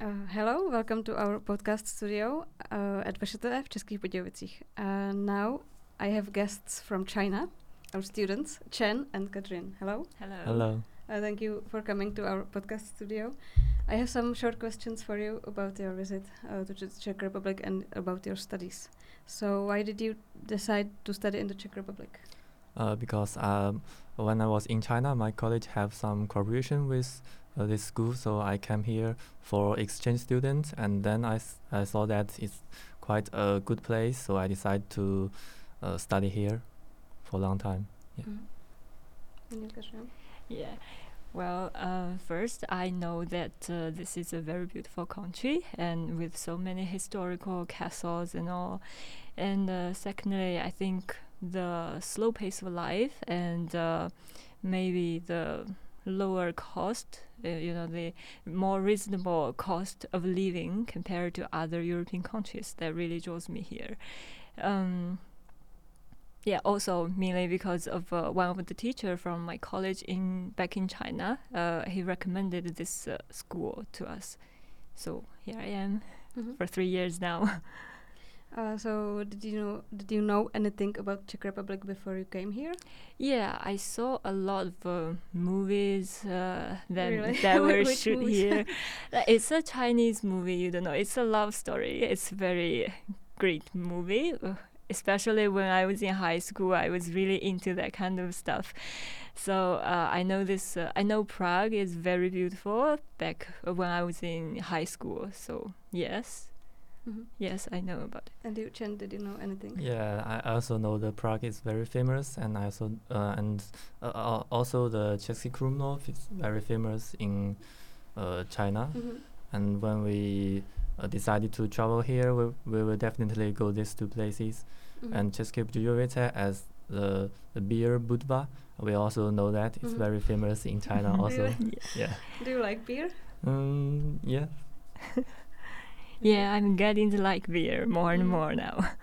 Uh, hello, welcome to our podcast studio uh, at VŠTE v Českých Budějovicích. Uh, now I have guests from China, our students, Chen and Katrin. Hello. Hello. Hello. Uh, thank you for coming to our podcast studio. I have some short questions for you about your visit uh, to the Czech Republic and about your studies. So, why did you decide to study in the Czech Republic? Uh, because um, when I was in China, my college have some cooperation with uh, this school, so I came here for exchange student, and then I, s- I saw that it's quite a good place, so I decided to uh, study here for a long time. Yeah. Mm. And you, Katrin? Yeah. Well, uh, first, I know that uh, this is a very beautiful country and with so many historical castles and all. And uh, secondly, I think the slow pace of life and uh, maybe the lower cost, uh, you know, the more reasonable cost of living compared to other European countries that really draws me here. Um, yeah, also mainly because of uh, one of the teacher from my college in back in China. Uh, he recommended this uh, school to us, so here I am Mhm. for three years now. Uh, so, did you know did you know anything about Czech Republic before you came here? yeah, I saw a lot of uh, movies uh, that Really? that were Which shoot movies? here. Like, it's a Chinese movie. You don't know. It's a love story. It's very great movie. uh, Especially when I was in high school, I was really into that kind of stuff. So uh, I know this. Uh, I know Prague is very beautiful. Back uh, when I was in high school, so yes, Mhm. yes, I know about it. And you, Chen, did you know anything? Yeah, I also know the Prague is very famous, and I also uh, and uh, uh, also the Czech Krumlov is very famous in uh, China. Mhm. and when we uh, decided to travel here, we, we will definitely go these two places. Mhm. And České Budějovice as the, the beer budva, we also know that it's Mhm. very famous in China also. Really? yeah. Do you like beer? Mm, yeah. Yeah, I'm getting to like beer more and Mhm. more now.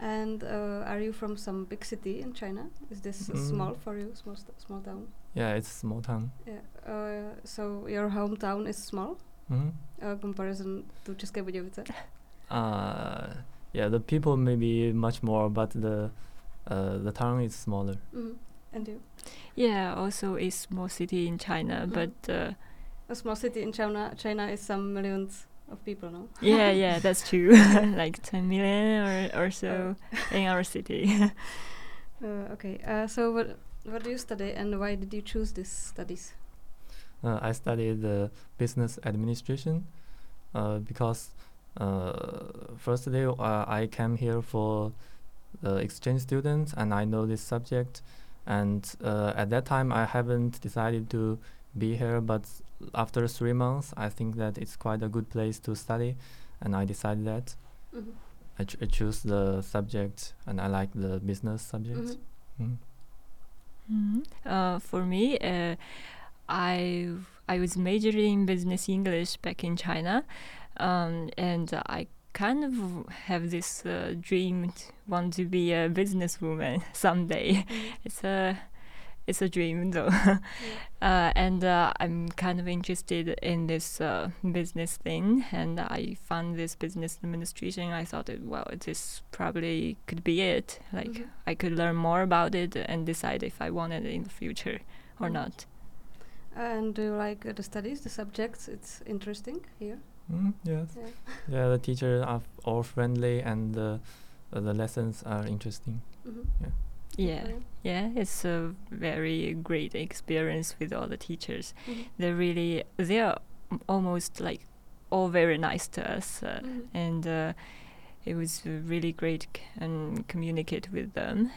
And uh, are you from some big city in China? Is this uh, Mm. small for you, small st- small town? Yeah, it's small town. Yeah. Uh, so your hometown is small hmm uh, comparison to České Budějovice. Uh, yeah, the people may be much more, but the uh, the town is smaller. Mhm. And you? Yeah, also a small city in China, Mhm. but uh, A small city in China. China is some millions of people, no? yeah, yeah, that's true. like 10 million or, or so in our city. Uh, okay. Uh, so what what do you study and why did you choose these studies? Uh, I studied uh, business administration uh, because uh, firstly uh, I came here for the exchange student and I know this subject and uh, at that time I haven't decided to be here but after three months I think that it's quite a good place to study and I decided that Mhm. I, ch- I choose the subject and I like the business subject. Mhm. Mm. Mhm. Uh, for me, uh, I I was majoring in business English back in China, um, and I kind of have this uh, dream to want to be a businesswoman someday. It's a it's a dream though, uh, and uh, I'm kind of interested in this uh, business thing, and I found this business administration. I thought, that, well, this probably could be it. Like Mhm. I could learn more about it and decide if I want it in the future or Mhm. not. And do you like uh, the studies, the subjects? It's interesting here. Mm, yes. Yeah. Yeah, the teachers are f- all friendly and the, uh, the lessons are interesting. Mhm. Yeah, Okay. yeah, it's a very great experience with all the teachers. Mhm. They really, they are m- almost like all very nice to us, uh, Mhm. and uh, it was uh, really great c- and communicate with them.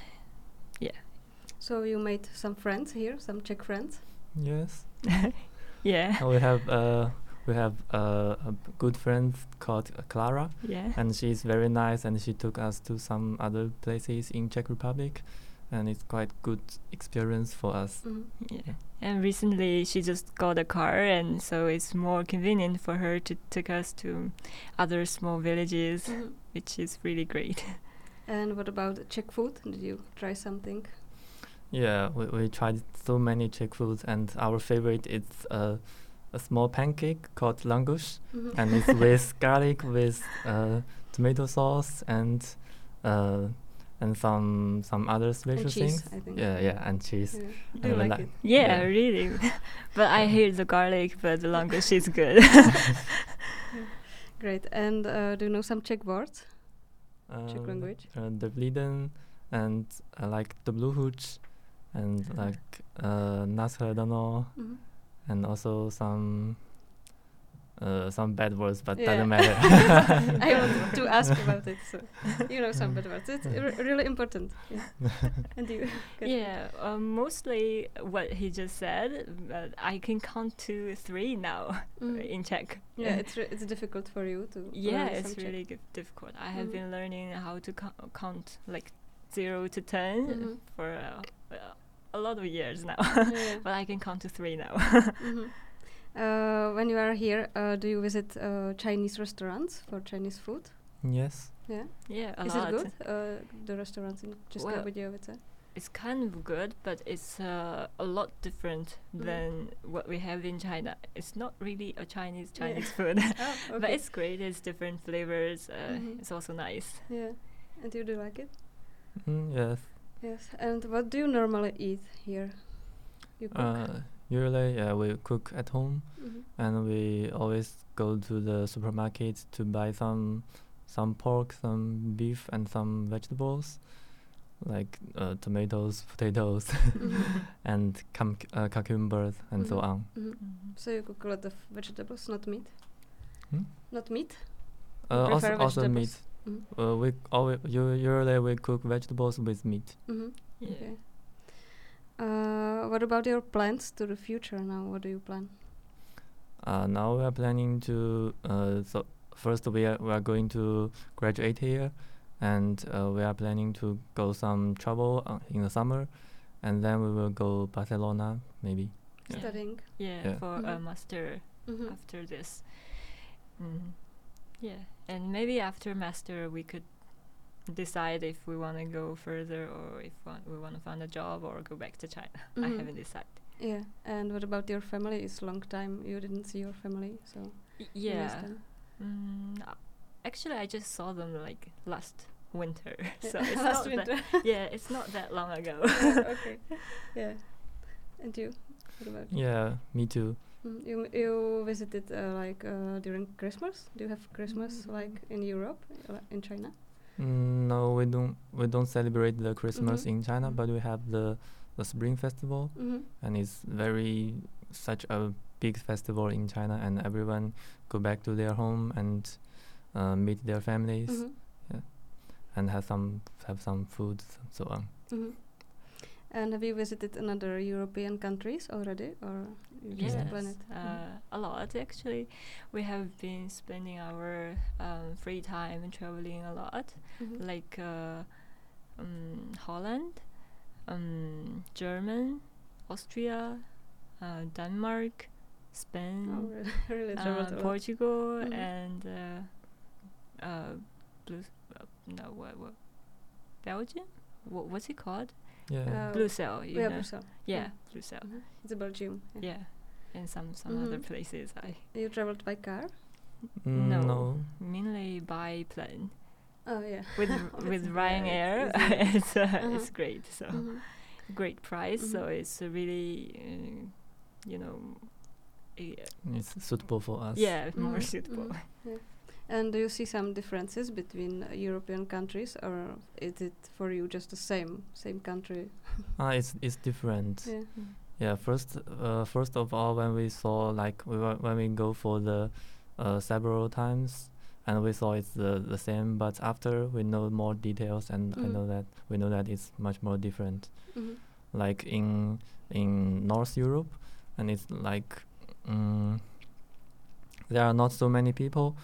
So you made some friends here, some Czech friends. Yes. Yeah, Uh, we have uh, we have uh, a b- good friend called uh, Clara, yeah. and she's very nice, and she took us to some other places in Czech Republic, and it's quite good experience for us. Mhm. Yeah. And recently she just got a car, and so it's more convenient for her to take us to other small villages, Mhm. which is really great. And what about Czech food? Did you try something? Yeah, we, we tried so many Czech foods, and our favorite is uh, a small pancake called langosh, Mm-hmm. and it's with garlic with uh, tomato sauce and uh, and some some other special cheese, things. I think. Yeah, yeah, and cheese. Yeah. I Do you really like like- it? Yeah, Yeah. really. but I hate the garlic, but the langosh is good. Great. And uh, do you know some Czech words? Czech Um, language. Uh, Devliden and uh, like Dobluhuch and Uh-huh. like uh, Nasredano Mhm. and also some uh, some bad words, but Yeah. doesn't matter. I wanted to ask about it. So you know some bad words. It's r- really important. Yeah. and you. good. yeah, um, mostly what he just said, but I can count to three now Mm. in Czech. Yeah, it's re- it's difficult for you to. yeah, learn it's some Czech. really g- difficult. I have Mhm. been learning how to co- count like zero to 10 Mhm. for uh, uh, a lot of years now, yeah. but I can count to three now. Mm. Mhm. Uh, when you are here, uh, do you visit uh, Chinese restaurants for Chinese food? yes. Yeah, yeah, a is lot. it good? Uh, the restaurants in Česká Well, Budějovice. It's kind of good, but it's uh, a lot different Mhm. than what we have in China. It's not really a Chinese Yeah. Chinese food, Oh, but it's great. It's different flavors. Uh, Mhm. It's also nice. yeah. And you do like it? Mm, yes. Yes. And what do you normally eat here? You cook. Uh, usually, yeah, we cook at home, Mhm. and we always go to the supermarket to buy some some pork, some beef, and some vegetables, like uh, tomatoes, potatoes, Mhm. and cum- uh, cucumbers, and so Mhm. on. Mhm. Mm-hmm. So you cook a lot of vegetables, not meat. Hmm? Not meat. You Uh, also, prefer also meat. vegetables? Mhm. Uh, we always usually we cook vegetables with meat. hmm Yeah. Okay. Uh, what about your plans to the future now? What do you plan? Uh, now we are planning to. Uh, so first we are we are going to graduate here, and uh, we are planning to go some travel uh, in the summer, and then we will go Barcelona maybe. Yeah. Studying. Yeah, Yeah. for a Mhm. master hmm after this. Mm. Yeah, and maybe after master we could decide if we want to go further or if wa- we want to find a job or go back to China. I Mhm. haven't decided. Yeah. And what about your family? It's long time you didn't see your family, so you Y- miss Yeah. them. Mm, uh, actually, I just saw them like last winter, so Yeah. it's Last not winter. That, yeah, it's not that long ago. Yeah, okay. Yeah. And you? What about you? Yeah, me too. Mm, You m- you visited uh, like uh, during Christmas? Do you have Christmas Mm. like in Europe, uh, li- in China? Mm, no, we don't we don't celebrate the Christmas Mhm. in China, Mm. but we have the the Spring Festival, Mm-hmm. and it's very such a big festival in China, and everyone go back to their home and uh, meet their families. Mm-hmm. and have some have some food s- so on. Mm-hmm. And have you visited another European countries already, or you just yes, plan it? Mm. uh, a lot actually. We have been spending our um, free time and traveling a lot, Mhm. like uh, um, Holland, um, German, Austria, uh, Denmark, Spain. Oh, really, really uh, traveled a lot. Portugal Mhm. and uh, uh, Blue, uh, no, what, what, Belgium? What, what's it called? Yeah. Uh, Blue Cell, oh, you yeah, know? Brussels. yeah, Blue Cell, Mhm. It's Belgium. Yeah. yeah, and some some other Mhm. places. I You traveled by car? Mm, no. no. mainly by plane Oh yeah. with It's with very Ryan Air. easy. it's uh, Uh-huh. it's great. So Mhm. great price. Mhm. So it's a really, uh, you know, i- It's suitable for us. yeah, more Mhm, suitable. mhm, yeah. And do you see some differences between uh, European countries, or is it for you just the same, same country? Ah, it's it's different. Yeah. Yeah. First, uh, first of all, when we saw like we were, when we go for the uh, several times, and we saw it's the the same. But after we know more details, and I Mhm. know that we know that it's much more different. Mhm. Like in in North Europe, and it's like mm, there are not so many people,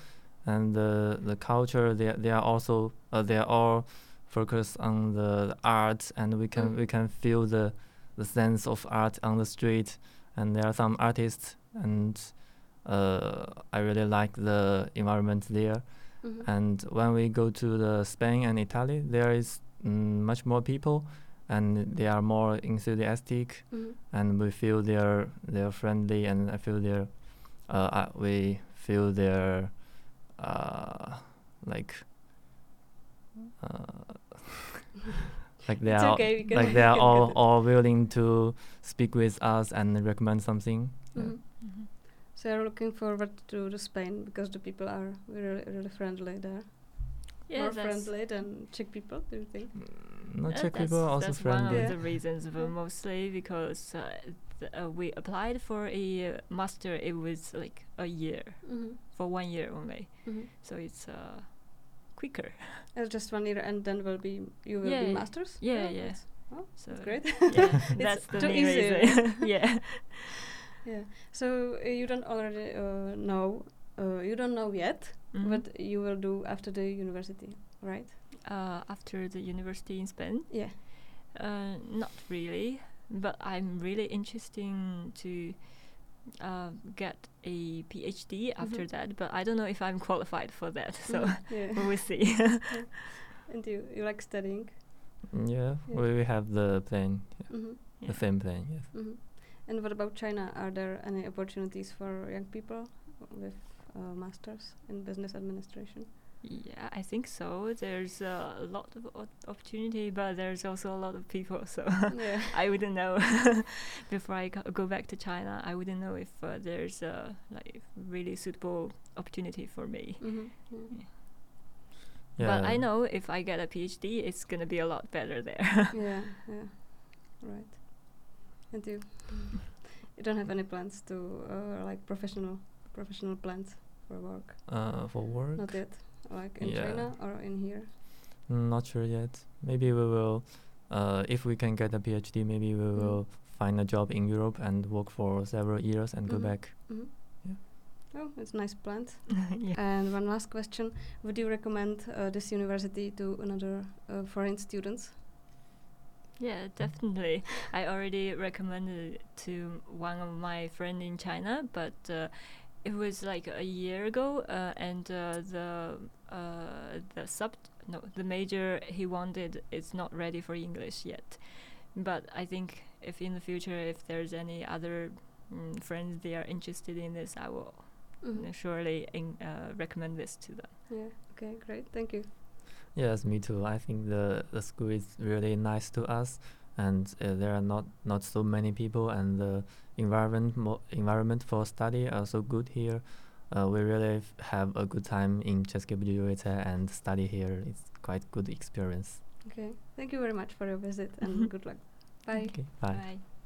and the the culture they they are also uh, they are all focused on the, the art, and we can Mm. we can feel the the sense of art on the street, and there are some artists, and uh, I really like the environment there. Mhm. And when we go to the Spain and Italy, there is mm, much more people, and they are more enthusiastic Mhm. and we feel they're they're friendly and I feel they're uh, I, we feel their uh, like uh, like they It's are okay, we can- like we they are can all, cut it. all willing to speak with us and recommend something. Yeah. Mhm. Mhm. So I'm looking forward to the Spain because the people are really, really friendly there. More that's- friendly than Czech people, do you think? Mm, No, Uh, Czech that's- people are also that's friendly. one of Yeah. the reasons, but Yeah. mostly because uh, th- uh, we applied for a uh, master. It was like a year Mm-hmm. for one year only, Mm-hmm. so it's uh, quicker. It's just one year, and then will be you will Yeah, be masters. Oh, yeah, yeah. that's- So That's great. Yeah, It's that's the too main easy. reason. yeah. Yeah. So uh, you don't already uh, know. Uh, you don't know yet Mhm. what you will do after the university, right? uh, after the university in Spain, Yeah. uh, not really, but I'm really interested to uh, get a PhD after Mhm. that. But I don't know if I'm qualified for that, so Mhm. yeah. we will see. And you you like studying. Mm, Yeah, Yeah. we we have the plan, Mm-hmm. Yeah. the same plan. Yes. Mm-hmm. And what about China? Are there any opportunities for young people with uh, masters in business administration? Yeah, I think so. There's uh, a lot of op- opportunity, but there's also a lot of people. So yeah. I wouldn't know. Before I go go back to China, I wouldn't know if uh, there's uh, like really suitable opportunity for me. Mm-hmm. yeah. But I Yeah. know if I get a PhD, it's gonna be a lot better there. yeah, yeah, right. And you, you don't have any plans to uh, like professional, professional plans for work? Uh, for work, Not yet. Like in Yeah. China or in here? Mm, not sure yet. Maybe we will, uh, if we can get a PhD, maybe we Mm. will find a job in Europe and work for several years and Mm. Mhm. go back. Mhm. Yeah. Oh, it's nice plant. yeah. And one last question: Would you recommend uh, this university to another uh, foreign students? yeah, definitely. I already recommended it to one of my friend in China, but uh, it was like a year ago, uh, and uh, the uh, the sub no the major he wanted is not ready for English yet. But I think if in the future if there's any other mm, friends they are interested in this, I will Mhm. surely in, uh, recommend this to them. Yeah. Okay. Great. Thank you. Yes, me too. I think the the school is really nice to us, and uh, there are not not so many people, and the environment mo- environment for study are so good here. Uh, we really f- have a good time in České Budějovice and study here. It's quite good experience. Okay. Thank you very much for your visit and Mm-hmm. Mhm. good luck. Bye. Okay, bye. Bye.